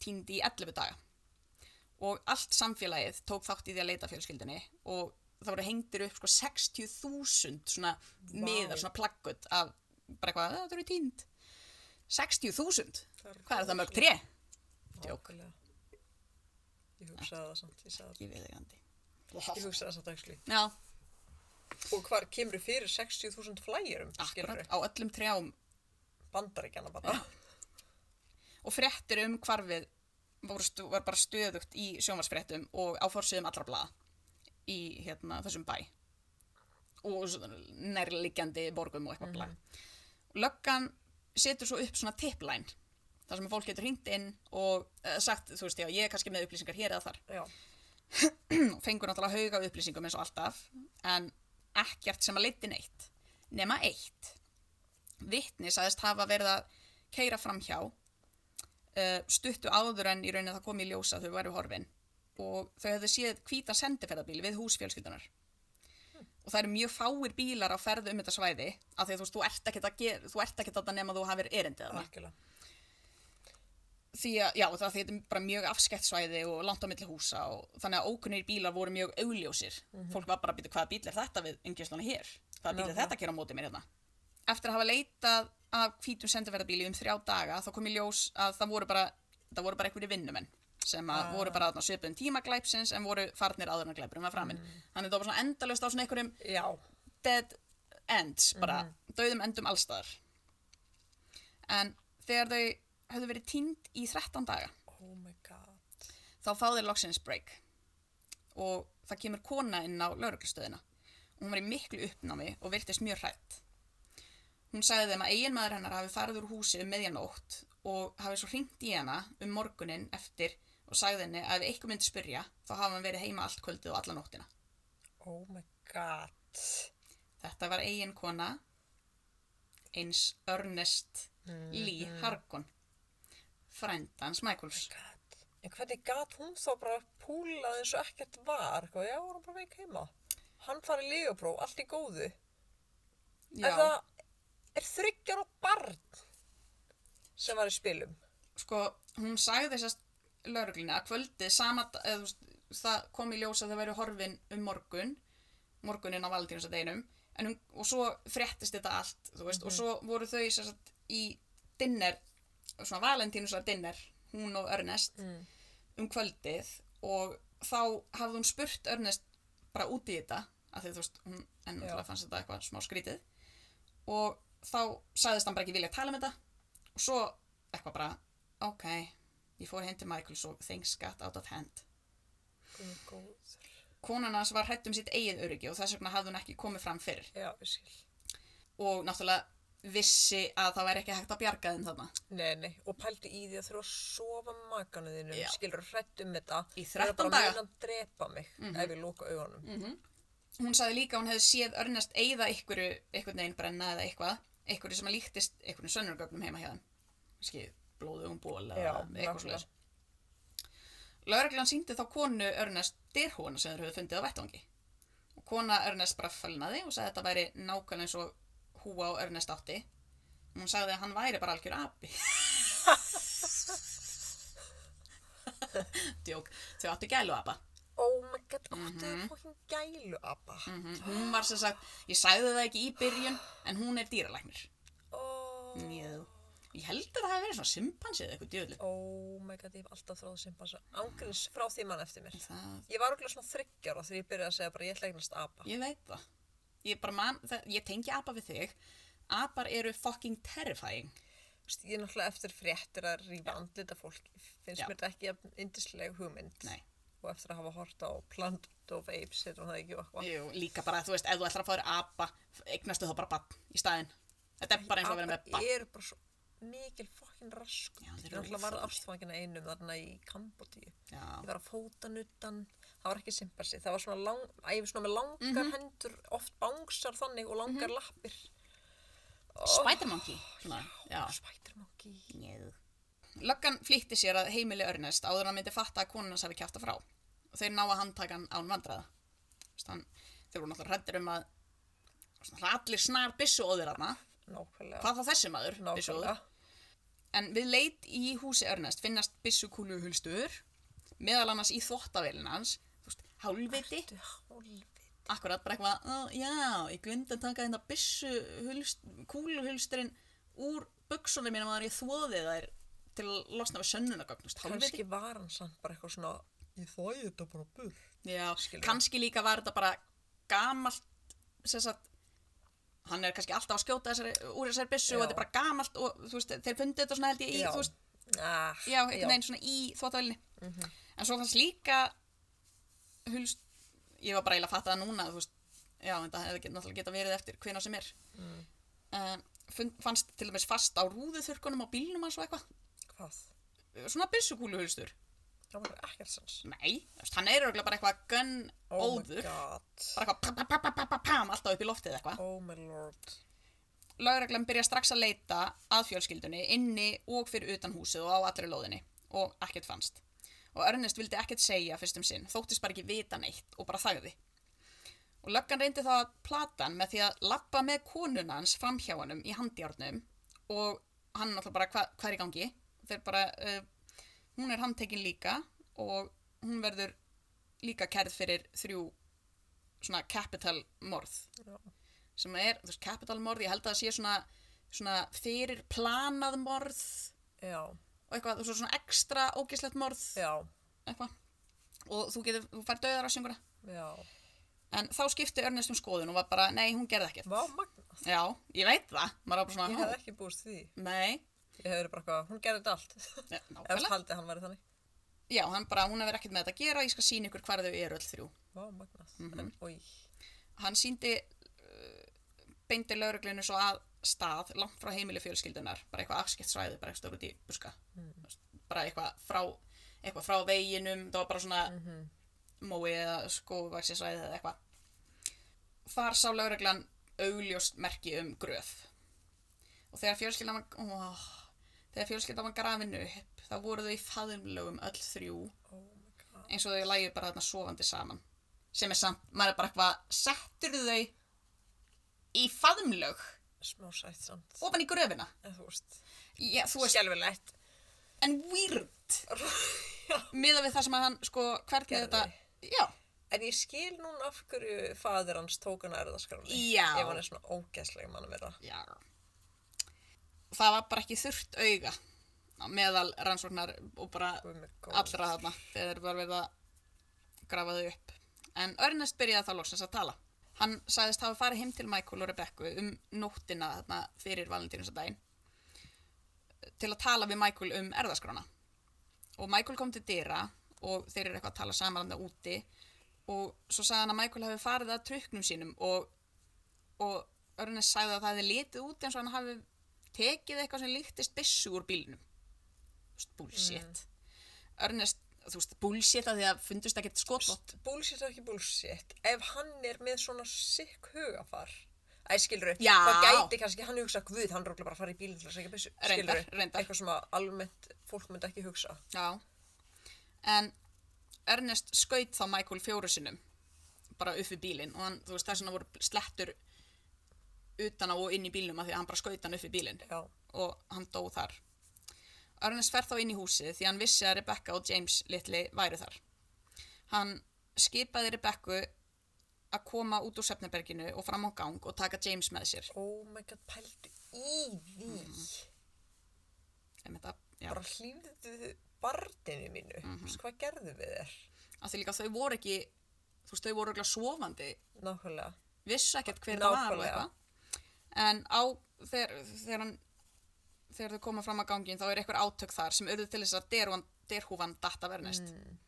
[SPEAKER 1] týnd í 11 daga og allt samfélagið tók þátt í því að leita að fjölskyldinni og það voru hengdir upp sko 60.000 svona miðar, svona plaggöt af bara eitthvað, "Eh, þetta eru týnd. 60.000?
[SPEAKER 2] Það eru
[SPEAKER 1] Hvað er það mörg
[SPEAKER 2] rosalega.
[SPEAKER 1] tré? Djók.
[SPEAKER 2] Nákvæmlega. Ég hugsaði það samt, ég sagði
[SPEAKER 1] Ég veit ekki andi.
[SPEAKER 2] það. Ég hugsaði það samt actually.
[SPEAKER 1] Já,
[SPEAKER 2] Og hvar kemur fyrir 60.000 flæjurum, skilur
[SPEAKER 1] akkurat, Ah.
[SPEAKER 2] þau?
[SPEAKER 1] á öllum trjám
[SPEAKER 2] Bandaríkjana bara.
[SPEAKER 1] og fréttir um hvarfið voru stu, var bara stöðugt í sjónvarsfréttum og á fórsöðum allra blaða í hérna, þessum bæ og svona nærliggjandi borgum og eitthvað mm Löggan setur svo upp svona tipplæn þar sem fólk getur hringt inn og eh, sagt, þú veist, já, ég er kannski með upplýsingar hér eða þar
[SPEAKER 2] Já.
[SPEAKER 1] fengur náttúrulega hauga af upplýsingum eins og alltaf en ekkert sem að leiti neitt nema eitt vittni sagðist hafa verið að keira framhjá uh, stuttu áður en í rauninni það kom í ljósa þau væru horfin og þau hefðu séð hvíta sendiferðabíl við hús fjölskyldunar og það eru mjög fáir bílar á ferð um þetta svæði af því að þú veist, þú ert ekkert að gera þú ert ekkert að þetta nema þú hafir erindið þarna.
[SPEAKER 2] Algjörlega.
[SPEAKER 1] því að, já, það þetta er bara mjög afskett svæði og langt á milli húsa og þannig að ókunnir bílar voru mjög augljósir fólk var bara að býta hvaða bíl er þetta við umgjörslana hér, hvaða bíl er
[SPEAKER 2] Mhm. Nákvæmlega.
[SPEAKER 1] þetta að gera á móti mér hérna eftir að hafa leitað af hvítum sendaverðabíli um þrjá daga þá kom í ljós að það voru bara það voru bara einhverju vinnumenn sem að
[SPEAKER 2] Ah.
[SPEAKER 1] voru bara þarna svipuðum tímaglæpsins en voru farnir áður en glæpurinn var
[SPEAKER 2] Mm.
[SPEAKER 1] framinn þannig að það var svona endalaust á svona einhverjum
[SPEAKER 2] Já.
[SPEAKER 1] dead ends bara dauðum endum allstaðar en þegar þau höfðu verið týnd í 13 daga
[SPEAKER 2] Oh my god.
[SPEAKER 1] þá fá þeir loksins break og það kemur kona inn á lauruglustöðina og hún var í miklu uppnámi og virtist mjög hrætt hún sagði þeim að eiginmaður hennar hafi farið úr húsi um meðjanótt og hafi svo hringt í hana um morgunin eftir og sagði henni að ef eitthvað myndi spyrja þá hafi hann verið heima allt kvöldið og alla nóttina
[SPEAKER 2] Oh my god.
[SPEAKER 1] Þetta var eigin kona eins Ernest Lee Harkon frændans Michaels
[SPEAKER 2] God. En hvernig gat hún þá bara púlað eins og ekkert var? Hvað, já, hún er bara veik heima. Hann farið legapróf, allt í góðu. En það
[SPEAKER 1] Já,
[SPEAKER 2] er þryggjar og barn sem var í spilum.
[SPEAKER 1] sko, hún sagði þessast lauruglina að kvöldið sama, eða, þú veist, það kom í ljós að það væri horfin um morgun morgunin á valdínsadeginum en hún, og svo fréttist þetta allt þú veist,
[SPEAKER 2] Mhm.
[SPEAKER 1] og svo voru þau sérst, í dinner, svona valentínusar dinner, hún og Ernest
[SPEAKER 2] Mm.
[SPEAKER 1] um kvöldið og þá hafði hún spurt Ernest bara út í þetta af því þú veist, hún enn
[SPEAKER 2] Já.
[SPEAKER 1] náttúrulega fannst þetta eitthvað smá skrítið og þá sagðist hann bara ekki vilja að tala um þetta og svo eitthvað bara ok, ég fór heim til Michaels og things got out of hand
[SPEAKER 2] Guð minn góður.
[SPEAKER 1] konan hans var hrætt um sitt eigið öryggi og þess vegna hafði hún ekki komið fram fyrr
[SPEAKER 2] Já, ég skil.
[SPEAKER 1] og náttúrulega vissi að það væri ekki hægt að bjarga þeim þarna
[SPEAKER 2] Nei, nei, og pældu í því að þurfa að sofa með makanu þínum,
[SPEAKER 1] Já.
[SPEAKER 2] skilur hrætt um þetta.
[SPEAKER 1] Í
[SPEAKER 2] Það er
[SPEAKER 1] 13
[SPEAKER 2] bara
[SPEAKER 1] daga. Mhm.
[SPEAKER 2] að
[SPEAKER 1] Mm.
[SPEAKER 2] að drepa mig ef ég lóka augunum.
[SPEAKER 1] hún sagði líka að hún hefði séð örnest eigða einhverju, einhvern veginn brenna eða eitthvað, einhverju sem að líktist einhverjum sönnurgögnum heima hjá þeim. Kanski blóðugum ból eða
[SPEAKER 2] Já,
[SPEAKER 1] eitthvað
[SPEAKER 2] nákvæmlega.
[SPEAKER 1] slags. Lögreglan síndi þá konu örnest dyrhóna sem þeir höfðu fundið á vettvangi. Og kona örnest bara fölnaði og sagði að þetta væri nákvæmlega eins og húa á örnest átti. Hún sagði að hann væri bara algjör api. djók, þau áttu gæluapa
[SPEAKER 2] Oh my god, áttu mm fokkin gælu, abba.
[SPEAKER 1] Mhm. mm hún var sem sagt, ég sagði það ekki í byrjun en hún er dýralæknir
[SPEAKER 2] Oh,
[SPEAKER 1] Jú. ég held að það hafi verið svona simpansi eða eitthvað djöðli
[SPEAKER 2] oh my god, ég hef alltaf þráð simpansa. Ángurins frá því mann eftir mér.
[SPEAKER 1] það,
[SPEAKER 2] Ég var okkur svona þryggjára þegar ég byrjaði að segja bara ég ætla að eignast apa.
[SPEAKER 1] ég veit það ég bara man, það, ég tengi apa við þig apar eru fucking terrifying
[SPEAKER 2] Þú veist, Ég er náttúrulega eftir fréttir að rífa andlita fólk. Finnst
[SPEAKER 1] Já.
[SPEAKER 2] mér þetta ekki jafn yndisleg hugmynd.
[SPEAKER 1] Nei.
[SPEAKER 2] Og eftir að hafa hort á Planet of Apes, heitir hún það ekki og eitthvað.
[SPEAKER 1] Jú, líka bara, þú veist, ef þú ætlar að fá þér apa eignastu þá bara bann í staðinn þetta er bara eins og að vera með
[SPEAKER 2] Apar
[SPEAKER 1] bann
[SPEAKER 2] eru bara svo mikil fokkin rasku.
[SPEAKER 1] Já,
[SPEAKER 2] Ég
[SPEAKER 1] þeir eru
[SPEAKER 2] náttúrulega var
[SPEAKER 1] óþolandi.
[SPEAKER 2] ástfangina einum þarna í Kambodíu. Ég
[SPEAKER 1] já,
[SPEAKER 2] var að fóta nutan, það var ekki simpansi, það var svona lang, að ég var svona með langar
[SPEAKER 1] Mhm.
[SPEAKER 2] hendur, oft bangsar þannig og langar lappir.
[SPEAKER 1] spidermonkey svona, já
[SPEAKER 2] Spidermonkey.
[SPEAKER 1] Njöð. Löggan flýtti sér að heimili örnest áður en hann myndi fatta að konan hans hafi kjátt frá. Og þeir náða handtakan án vandræða. Þess, hann, þeir voru náttúrulega hrættir um að svona, það allir snar byssuóðir hana.
[SPEAKER 2] Nákvæmlega.
[SPEAKER 1] Hvað þá þessi maður, byssuóður.
[SPEAKER 2] Nákvæmlega.
[SPEAKER 1] En við leit í húsi örnest finnast byssukúlu hulstur, meðal annars í þvottavélin hans, þú veist, hálfviti,
[SPEAKER 2] Ertu hálfið.
[SPEAKER 1] akkurat bara eitthvað, "Ó, já, ég glemdi að taka hérna þetta byssukúluhulsturinn úr buksunum mínum að það er ég þvoði þær til að losna við sönnunagögn, þú veist, hálfviti.
[SPEAKER 2] Kanski var hann samt bara eitthvað svona, ég þvæði þetta bara burt.
[SPEAKER 1] Já,
[SPEAKER 2] Skilurðu?
[SPEAKER 1] kannski líka var þetta bara gamalt sem sagt hann er kannski alltaf að skjóta þessari, úr þessari
[SPEAKER 2] Já.
[SPEAKER 1] byssu og þetta er bara gamalt og þú veist, þeir fundu þetta svona held ég í, þú veist,
[SPEAKER 2] Ah,
[SPEAKER 1] já, einhvern veginn svona í þvóttavælinni.
[SPEAKER 2] Mhm.
[SPEAKER 1] En svo fannst líka hulst, ég var bara eiginlega að fatta það núna, þú veist, já, en það hefði get- náttúrulega geta verið eftir hvena sem er.
[SPEAKER 2] Mm.
[SPEAKER 1] Mm. fannst til dæmis fast á rúðuþurkunum á bílnum hans og eitthvað,
[SPEAKER 2] Hvað?
[SPEAKER 1] svona byssukúluhulstur.
[SPEAKER 2] Það var ekkert sens.
[SPEAKER 1] Nei, þú veist, hann er örgulega bara eitthvað gunn
[SPEAKER 2] Oh
[SPEAKER 1] óður.
[SPEAKER 2] my god.
[SPEAKER 1] bara eitthvað pa, pa, pa, pa, pa, pam alltaf upp í loftið eitthvað.
[SPEAKER 2] Oh my lord.
[SPEAKER 1] Lögreglan byrja strax að leita að fjölskyldunni inni og fyrir utan húsið og á allri lóðinni og ekkert fannst. Og Ernest vildi ekkert segja fyrst um sinn, þóttist bara ekki vita neitt og bara þagði. Og löggan reyndi þá að plata hann með því að lappa með konuna hans framhjá hannum í handjárnum og hann náttúrulega bara hva, hvað er í gangi. Þeir bara, uh, hún er handtekin líka og hún verður líka kærð fyrir þrjú svona capital morð
[SPEAKER 2] Já.
[SPEAKER 1] sem er, þú veist, capital morð, ég held að það sé svona, svona fyrir planað morð
[SPEAKER 2] Já.
[SPEAKER 1] og eitthvað, þú veist, svona ekstra ógislegt morð,
[SPEAKER 2] Já.
[SPEAKER 1] eitthvað og þú getur, þú fær döðar á synguna
[SPEAKER 2] Já.
[SPEAKER 1] en þá skipti Ernest um skoðun og var bara, nei, hún gerði ekkert
[SPEAKER 2] Vá magnað.
[SPEAKER 1] já, ég veit það, maður var bara
[SPEAKER 2] Ég
[SPEAKER 1] svona
[SPEAKER 2] hefði
[SPEAKER 1] "Ó,
[SPEAKER 2] ekki búist því.
[SPEAKER 1] nei,
[SPEAKER 2] Ég hefði verið bara eitthvað, hún gerði þetta allt.
[SPEAKER 1] ne-
[SPEAKER 2] Ef
[SPEAKER 1] nákvæmlega
[SPEAKER 2] haldið hann væri þannig.
[SPEAKER 1] já, hann bara, hún hefur ekkert með þetta að gera, ég skal sína ykkur hvar þau eru öll þrjú
[SPEAKER 2] Vá magnað.
[SPEAKER 1] Mhm.
[SPEAKER 2] En, oi.
[SPEAKER 1] hann síndi uh, beindi lauruglunu svo að stað langt frá heimili fjölskyldunar bara eitthvað afskipt svæði, bara eitthvað stór út í buska bara eitthvað frá eitthvað frá veginum, það var bara svona mói eða skóvaksi svæði eða eitthvað þar sá lauruglan augljóst merki um gröf og þegar fjölskyldan var ó, þegar fjölskyldan var grafin upp þá voru þau í faðumlögum öll þrjú
[SPEAKER 2] Oh my god.
[SPEAKER 1] eins og þau lægir bara þarna sofandi saman sem er samt, maður er bara eitthvað settur þau í faðumlög
[SPEAKER 2] Smá sætt samt.
[SPEAKER 1] ofan í gröfina
[SPEAKER 2] En þú veist.
[SPEAKER 1] Já, þú veist,
[SPEAKER 2] Skelvilegt.
[SPEAKER 1] en weird
[SPEAKER 2] Já.
[SPEAKER 1] miða við það sem að hann, sko, hvernig
[SPEAKER 2] Gerði.
[SPEAKER 1] þetta já,
[SPEAKER 2] En ég skil núna af hverju fadir hans tók hann að erðaskrafni.
[SPEAKER 1] Já.
[SPEAKER 2] Ef hann er svona ógæsleg mann að vera.
[SPEAKER 1] já það var bara ekki þurft auga á meðal rannsóknar og bara
[SPEAKER 2] Guð minn góður.
[SPEAKER 1] allra þarna þegar var verið að grafa þau upp en Ernest byrjaði þá loksins að tala hann sagðist hafa farið heim til Michael og Rebecca um nóttina þarna fyrir valentínusadaginn til að tala við Michael um erðaskrána og Michael kom til dyra og þeir eru eitthvað að tala saman þarna úti og svo sagði hann að Michael hafi farið að trukknum sínum og, og Ernest sagði að það hefði litið út eins og hann hafi tekið eitthvað sem líktist byssu úr bílnum Þú veist, bullshit Ernest, þú veist, bullshit að því að fundust ekkert skotvott.
[SPEAKER 2] Bullshit er ekki bullshit. Ef hann er með svona sikk hugafar, æ, skilru,
[SPEAKER 1] Já.
[SPEAKER 2] þá gæti kannski hann hugsa guð, hann rúglega bara að fara í bílinn til að segja byssu,
[SPEAKER 1] Reyndar,
[SPEAKER 2] skilru.
[SPEAKER 1] reyndar.
[SPEAKER 2] Eitthvað sem að almennt fólk myndi ekki hugsa.
[SPEAKER 1] Já. En Ernest skaut þá Michael fjóru sinnum, bara upp við bílinn og hann, þú veist, þess vegna voru slettur utan á og inn í bílnum að því að hann bara skaut hann upp við bílinn
[SPEAKER 2] Já,
[SPEAKER 1] og hann dó þar. Arnes fer þá inn í húsið því hann vissi að Rebecca og James litli væru þar. Hann skipaði Rebecca að koma út úr Svefneberginu og fram á gang og taka James með sér.
[SPEAKER 2] Oh my god, pældu í því.
[SPEAKER 1] Einmitt að, Mhm. já, Mhm.
[SPEAKER 2] Bara hlýfðu barninu mínu. Mm Hvað gerðu við þér?
[SPEAKER 1] að því líka þau voru ekki, þú veist, þau voru ekki svofandi,
[SPEAKER 2] Nákvæmlega.
[SPEAKER 1] vissu ekkert hver það var og
[SPEAKER 2] Nákvæmlega.
[SPEAKER 1] eitthvað. En á, þegar, þegar, hann, þegar þau koma fram á gangin þá er eitthvað átök þar sem urðu til þess að derhúfan, derhúfan datt af Ernest.
[SPEAKER 2] Mm.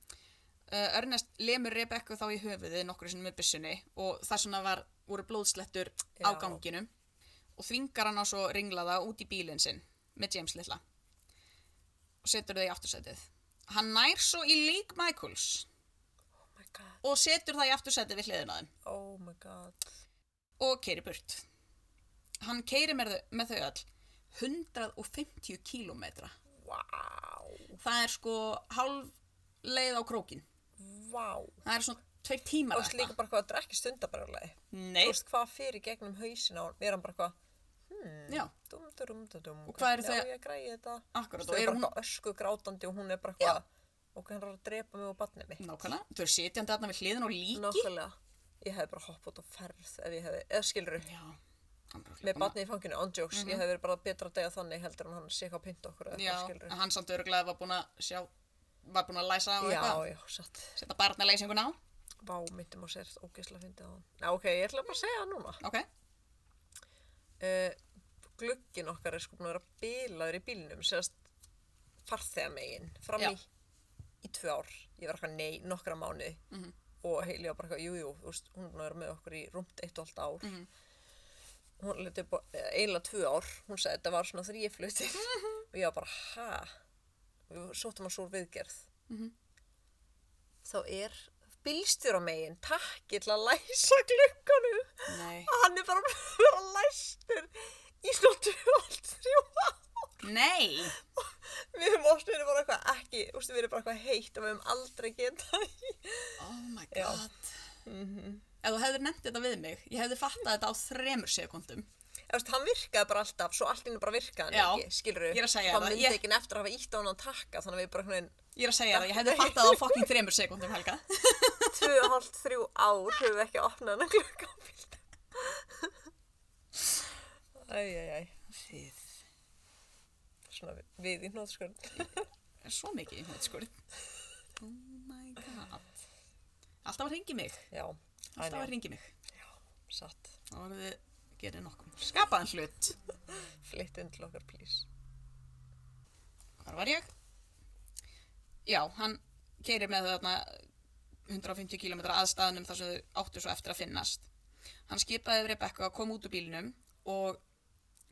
[SPEAKER 1] Uh, Ernest lemur Rebekku þá í höfuðið nokkru sinnum með byssunni og þess vegna var, voru blóðslettur á
[SPEAKER 2] Já.
[SPEAKER 1] ganginum og þvingar hann á svo ringlaða út í bílinn sinn með James litla og setur þau í aftursætið. Hann nær svo í lík Michaels
[SPEAKER 2] Oh my god.
[SPEAKER 1] og setur það í aftursætið við hliðina á þeim
[SPEAKER 2] Oh my god.
[SPEAKER 1] og keiri burt. Hann keiri með, þau- með þau öll 150 kílómetra.
[SPEAKER 2] Wow.
[SPEAKER 1] Það er sko hálf leið á krókin.
[SPEAKER 2] Wow.
[SPEAKER 1] Það er svona tveir tímar
[SPEAKER 2] Og þú veist líka bara hvað að drekki stundabrjálæði. Þú
[SPEAKER 1] Nei,
[SPEAKER 2] veist hvað fyrir gegnum hausin á hann. Er hann bara hvað,
[SPEAKER 1] já,
[SPEAKER 2] dum, dum, dum, dum.
[SPEAKER 1] Og hvað eru
[SPEAKER 2] hvernig á
[SPEAKER 1] þau-
[SPEAKER 2] ég að græja þetta? Þú
[SPEAKER 1] akkurat. Og
[SPEAKER 2] veist, þau
[SPEAKER 1] er
[SPEAKER 2] bara
[SPEAKER 1] hún
[SPEAKER 2] eitthvað ösku grátandi og hún er bara hvað, og hann er að drepa mig og barnið mitt.
[SPEAKER 1] Nákvæmlega, þú er sitjandi þarna við hliðin og líki
[SPEAKER 2] Nákvæmlega. Ég hefði bara hoppað út á ferð ef ég hefði, eða skilur
[SPEAKER 1] Já, hann er
[SPEAKER 2] með
[SPEAKER 1] örugglega búinn
[SPEAKER 2] barnið í fanginu, ondjóks, ég hefði verið bara betra að degja þannig heldur en hann sé eitthvað að pynta okkur eða
[SPEAKER 1] að-
[SPEAKER 2] eitthvað skilur.
[SPEAKER 1] Mhm. Já, en hann samt örglega var búinn að sjá var búinn að læsa og
[SPEAKER 2] Já,
[SPEAKER 1] eitthvað
[SPEAKER 2] já, satt.
[SPEAKER 1] setja barnalæsingun á,
[SPEAKER 2] Vá, myndum að sér ógeðslega fyndið á hann. Já, ok, ég ætla bara að segja það núna.
[SPEAKER 1] ok
[SPEAKER 2] Uh, glugginn okkar er sko búin að vera bilaður í bílnum, sérst farþegamegin, fram
[SPEAKER 1] Já.
[SPEAKER 2] í, í tvö ár. Ég var eitthvað nei, nokkra mánuði
[SPEAKER 1] Mhm.
[SPEAKER 2] og heilja bara eitthvað, jú, jú, þú veist, hún er búin að vera með okkur í rúmt eitt og allt ár.
[SPEAKER 1] Mhm.
[SPEAKER 2] Hún leti upp á- eða eiginlega tvö ár, hún sagði þetta var svona þrýflutir og ég var bara, ha? Við sóttum að svo úr viðgerð.
[SPEAKER 1] Mhm.
[SPEAKER 2] Þá er bílstjóra megin takki til að læsa glukkanum
[SPEAKER 1] Nei,
[SPEAKER 2] að hann er bara búinn að vera læstur í svona 23 ár.
[SPEAKER 1] nei,
[SPEAKER 2] Við höfum oft verið bara eitthvað ekki, ústu, við erum bara eitthvað heitt og við höfum aldrei getað í.
[SPEAKER 1] oh my god
[SPEAKER 2] Já.
[SPEAKER 1] Mhm. Ef þú hefðir nefnt þetta við mig, ég hefði fattað þetta á þremur sekundum
[SPEAKER 2] Þú veist, hann virkaði bara alltaf, svo allt inni bara virkaði hann
[SPEAKER 1] Já,
[SPEAKER 2] ekki, skilur
[SPEAKER 1] ég er að segja
[SPEAKER 2] það.
[SPEAKER 1] það,
[SPEAKER 2] myndi
[SPEAKER 1] ég-
[SPEAKER 2] ekki eftir að hafa ítt á hann að taka, þannig að við bara einhvern
[SPEAKER 1] Ég er að segja það, ég hefði fattað það á fucking þremur sekundum, Helga
[SPEAKER 2] veginn 2,5-3 ár höfum við ekki opnað hann að glukka á bílta. Æj, æj, æj,
[SPEAKER 1] Þið
[SPEAKER 2] svona við- við í hnóðskörn.
[SPEAKER 1] er svo mikið í sko. hótskurð Oh my god Alltaf að ringi mig,
[SPEAKER 2] Já,
[SPEAKER 1] alltaf að
[SPEAKER 2] hann
[SPEAKER 1] ringi mig
[SPEAKER 2] já, satt.
[SPEAKER 1] Þá voru þið gerir nokkum Skapaðan hlut
[SPEAKER 2] Flytt inn til okkar, please.
[SPEAKER 1] Hvar var ég? Já, hann keirir með þau þarna 150 km aðstæðanum þar sem þau áttu svo eftir að finnast. Hann skipaði Rebekka að koma út úr bílnum og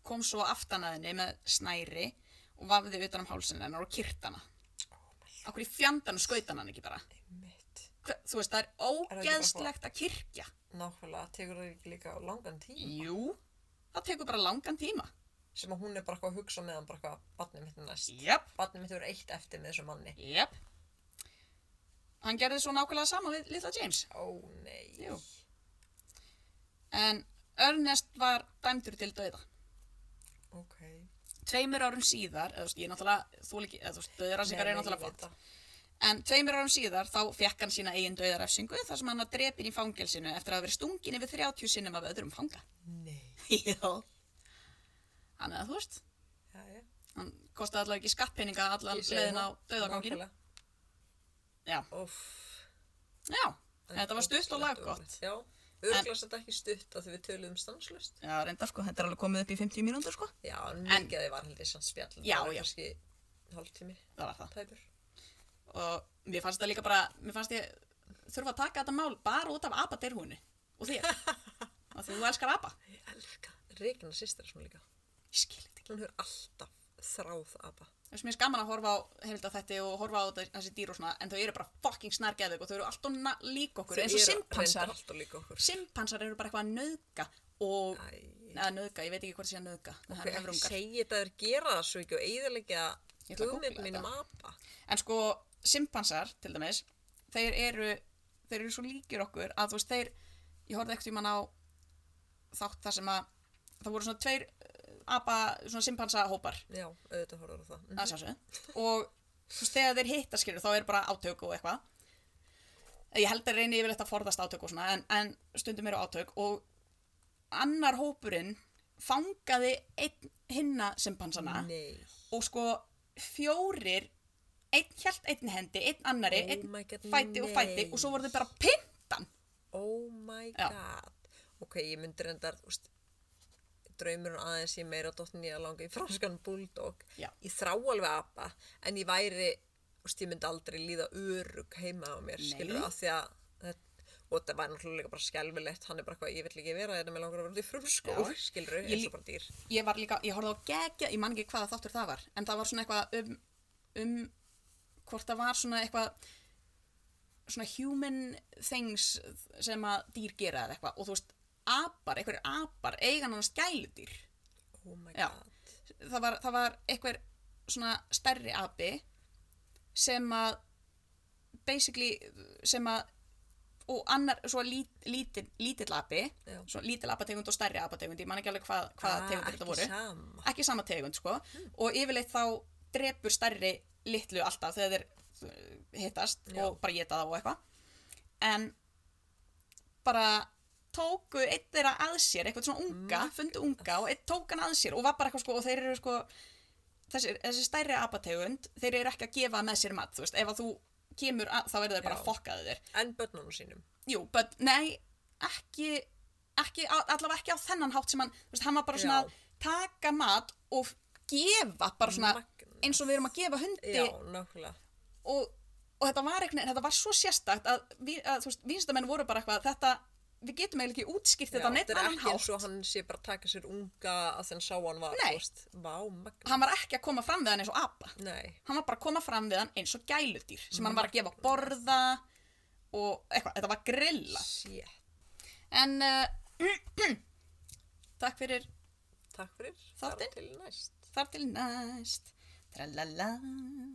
[SPEAKER 1] kom svo aftan að henni með snæri og vafði utan um hálsinn hennar og kyrt hana. Akkur í fjandanum skaut hann hann ekki bara.
[SPEAKER 2] Einmitt.
[SPEAKER 1] Hva, þú veist, það er
[SPEAKER 2] bara að-
[SPEAKER 1] ógeðslegt að kyrkja.
[SPEAKER 2] Nákvæmlega, tekur það ekki líka langan tíma
[SPEAKER 1] Jú, það tekur bara langan tíma.
[SPEAKER 2] sem að hún er bara eitthvað að hugsa meðan bara eitthvað barnið mitt er næst.
[SPEAKER 1] Jöp.
[SPEAKER 2] Barnið mitt er eitt eftir með þessum manni.
[SPEAKER 1] Jöp. Hann gerði svo nákvæmlega sama við litla James.
[SPEAKER 2] Ó nei.
[SPEAKER 1] Jú. en Ernest var dæmdur til dauða.
[SPEAKER 2] Ok.
[SPEAKER 1] Tveimur árum síðar, eða þú veist, ég er náttúrulega, þú líki, eða þú veist, dauðarafsingar
[SPEAKER 2] Nei,
[SPEAKER 1] er
[SPEAKER 2] nei,
[SPEAKER 1] náttúrulega
[SPEAKER 2] ég veit
[SPEAKER 1] flott.
[SPEAKER 2] það.
[SPEAKER 1] En tveimur árum síðar þá fekk hann sína eigin dauðarafsingu þar sem hann var drepinn í fangelsinu eftir að hafa verið stungin yfir 30 sinnum af öðrum fanga.
[SPEAKER 2] Nei.
[SPEAKER 1] Já. Hann eða þú veist,
[SPEAKER 2] Já, já.
[SPEAKER 1] hann kostaði allavega ekki skattpeninga allan
[SPEAKER 2] Ég segi
[SPEAKER 1] leiðin á
[SPEAKER 2] það.
[SPEAKER 1] dauðaganginu.
[SPEAKER 2] Nákvæmlega.
[SPEAKER 1] Já,
[SPEAKER 2] Óff.
[SPEAKER 1] já, þetta var stutt og
[SPEAKER 2] Ótrúlegt
[SPEAKER 1] laggott.
[SPEAKER 2] ótrúlegt. Já. Örglas þetta ekki stutt að því við töluðum stanslust.
[SPEAKER 1] Já, reynda sko, þetta er alveg komið upp í 50 mínúndur sko.
[SPEAKER 2] Já, en mikið að þið var heldur samt spjall.
[SPEAKER 1] Já,
[SPEAKER 2] Það var
[SPEAKER 1] já.
[SPEAKER 2] Kannski hálftími,
[SPEAKER 1] Það var það.
[SPEAKER 2] tæpur.
[SPEAKER 1] og mér fannst það líka bara mér fannst ég þurfa að taka þetta mál bara út af abadeirhúinu og þér og því þú elskar aba
[SPEAKER 2] Ég elska. Regina sýstir er svona líka.
[SPEAKER 1] ég skil þetta ekki
[SPEAKER 2] Hún hefur alltaf þráð apa.
[SPEAKER 1] þess að mér er skaman að horfa á heimildar þetta og horfa á þe- þessi dýr og svona en þau eru bara fucking snargeðvig og þau eru alltaf na- líka okkur eins og simpansar
[SPEAKER 2] alltaf líka okkur.
[SPEAKER 1] simpansar eru bara eitthvað að nöðga og
[SPEAKER 2] Æ,
[SPEAKER 1] neða nöðga, ég veit ekki hvort það sé að nöðga en það
[SPEAKER 2] Hver
[SPEAKER 1] eru höfrungar
[SPEAKER 2] segi þetta að þeir gera það svo ekki og eigðalega
[SPEAKER 1] Ég ætla að
[SPEAKER 2] guðmynd
[SPEAKER 1] googla
[SPEAKER 2] mínum apa?
[SPEAKER 1] En sko, simpansar, til dæmis, þeir eru, þeir eru svo líkir okkur að þú veist, þeir, ég horfði ekkert í mann á þátt þar sem að það voru svona tveir eh, apa, svona simpansa hópar
[SPEAKER 2] Já, auðvitað horfður á það. Mm.
[SPEAKER 1] að sjálfsögðu og þú veist, þegar þeir hitta skilur þá er bara átök og eitthvað ég held að reyni yfirleitt að forðast átök og svona en, en stundum eru átök og annar hópurinn fangaði einn hinna simpansana
[SPEAKER 2] Nei.
[SPEAKER 1] og sko fjórir einn hjælt einn hendi, einn annari
[SPEAKER 2] Oh
[SPEAKER 1] einn
[SPEAKER 2] my god,
[SPEAKER 1] fæti og fæti
[SPEAKER 2] nei.
[SPEAKER 1] og svo voru þau bara pintan
[SPEAKER 2] Oh my
[SPEAKER 1] Já.
[SPEAKER 2] god. Ok, ég myndi reyndar, þú veist, draumurinn aðeins ég meira dóttin ég að langa í franskan bulldog.
[SPEAKER 1] Já.
[SPEAKER 2] Ég þrá alveg apa, en ég væri, þú veist, ég myndi aldrei líða örug heima á mér,
[SPEAKER 1] Nei.
[SPEAKER 2] skilur, af því að þetta, og þetta var náttúrulega líka bara skelfilegt, hann er bara eitthvað, ég vill ekki vera þetta með langar að vera út í frumskó,
[SPEAKER 1] Já.
[SPEAKER 2] skilur,
[SPEAKER 1] Ég
[SPEAKER 2] eins
[SPEAKER 1] lí-
[SPEAKER 2] og bara dýr.
[SPEAKER 1] ég var líka, ég horfði á gegja, ég man ekki hvaða þáttur það var en það var svona eitthvað um, um hvort það var svona eitthvað svona human things sem að dýr gera eða eitthvað og þú veist, apar, einhverjir apar eigan hann skæludýr
[SPEAKER 2] Oh my
[SPEAKER 1] Já.
[SPEAKER 2] god.
[SPEAKER 1] það var, það var einhver svona stærri api sem að basically sem að og annar, svo lít, lítill, lítill api
[SPEAKER 2] Já. Ah,
[SPEAKER 1] svo lítill apategund og stærri apategund ég man ekki alveg hvað, hvaða tegundir þetta voru
[SPEAKER 2] Ekki sama. Hmm.
[SPEAKER 1] ekki sama tegund sko og yfirleitt þá drepur stærri litlu alltaf þegar þeir uh, hittast
[SPEAKER 2] Já.
[SPEAKER 1] og bara geta það og eitthvað en bara tóku einn þeirra að sér eitthvað svona unga,
[SPEAKER 2] Mm.
[SPEAKER 1] fundu unga og einn tók hann að sér og var bara eitthvað sko og þeir eru sko þessi, þessi stærri apategund þeir eru ekki að gefa með sér mat þú veist, ef að þú kemur að, þá eru þeir bara
[SPEAKER 2] Já.
[SPEAKER 1] fokkaðu þér
[SPEAKER 2] En börnunum sínum.
[SPEAKER 1] Jú, but nei, ekki, ekki á- allavega ekki á þennan hátt sem hann, þú veist, hann var bara svona
[SPEAKER 2] Já.
[SPEAKER 1] að taka mat og gefa bara svona
[SPEAKER 2] Magnað.
[SPEAKER 1] eins og við erum að gefa hundi
[SPEAKER 2] Já, nákvæmlega.
[SPEAKER 1] og, og þetta var eitthvað, þetta var svo sérstakt að, vi, að þú veist, vísindamenn voru bara eitthvað þetta, við getum eiginlega ekki útskýrt þetta á neitt
[SPEAKER 2] er
[SPEAKER 1] annan
[SPEAKER 2] ekki eins
[SPEAKER 1] hátt,
[SPEAKER 2] og hann sé bara að taka sér unga að þenn sá hann var,
[SPEAKER 1] Nei.
[SPEAKER 2] þú veist, vá, magna.
[SPEAKER 1] hann var ekki að koma fram við hann eins og apa,
[SPEAKER 2] Nei,
[SPEAKER 1] hann var bara að koma fram við hann eins og gæludýr sem hann var að gefa að borða og eitthvað, þetta var grilla
[SPEAKER 2] shit,
[SPEAKER 1] en uh, takk fyrir
[SPEAKER 2] takk fyrir,
[SPEAKER 1] Þáttinn.
[SPEAKER 2] til næst.
[SPEAKER 1] Þar til næst Tralala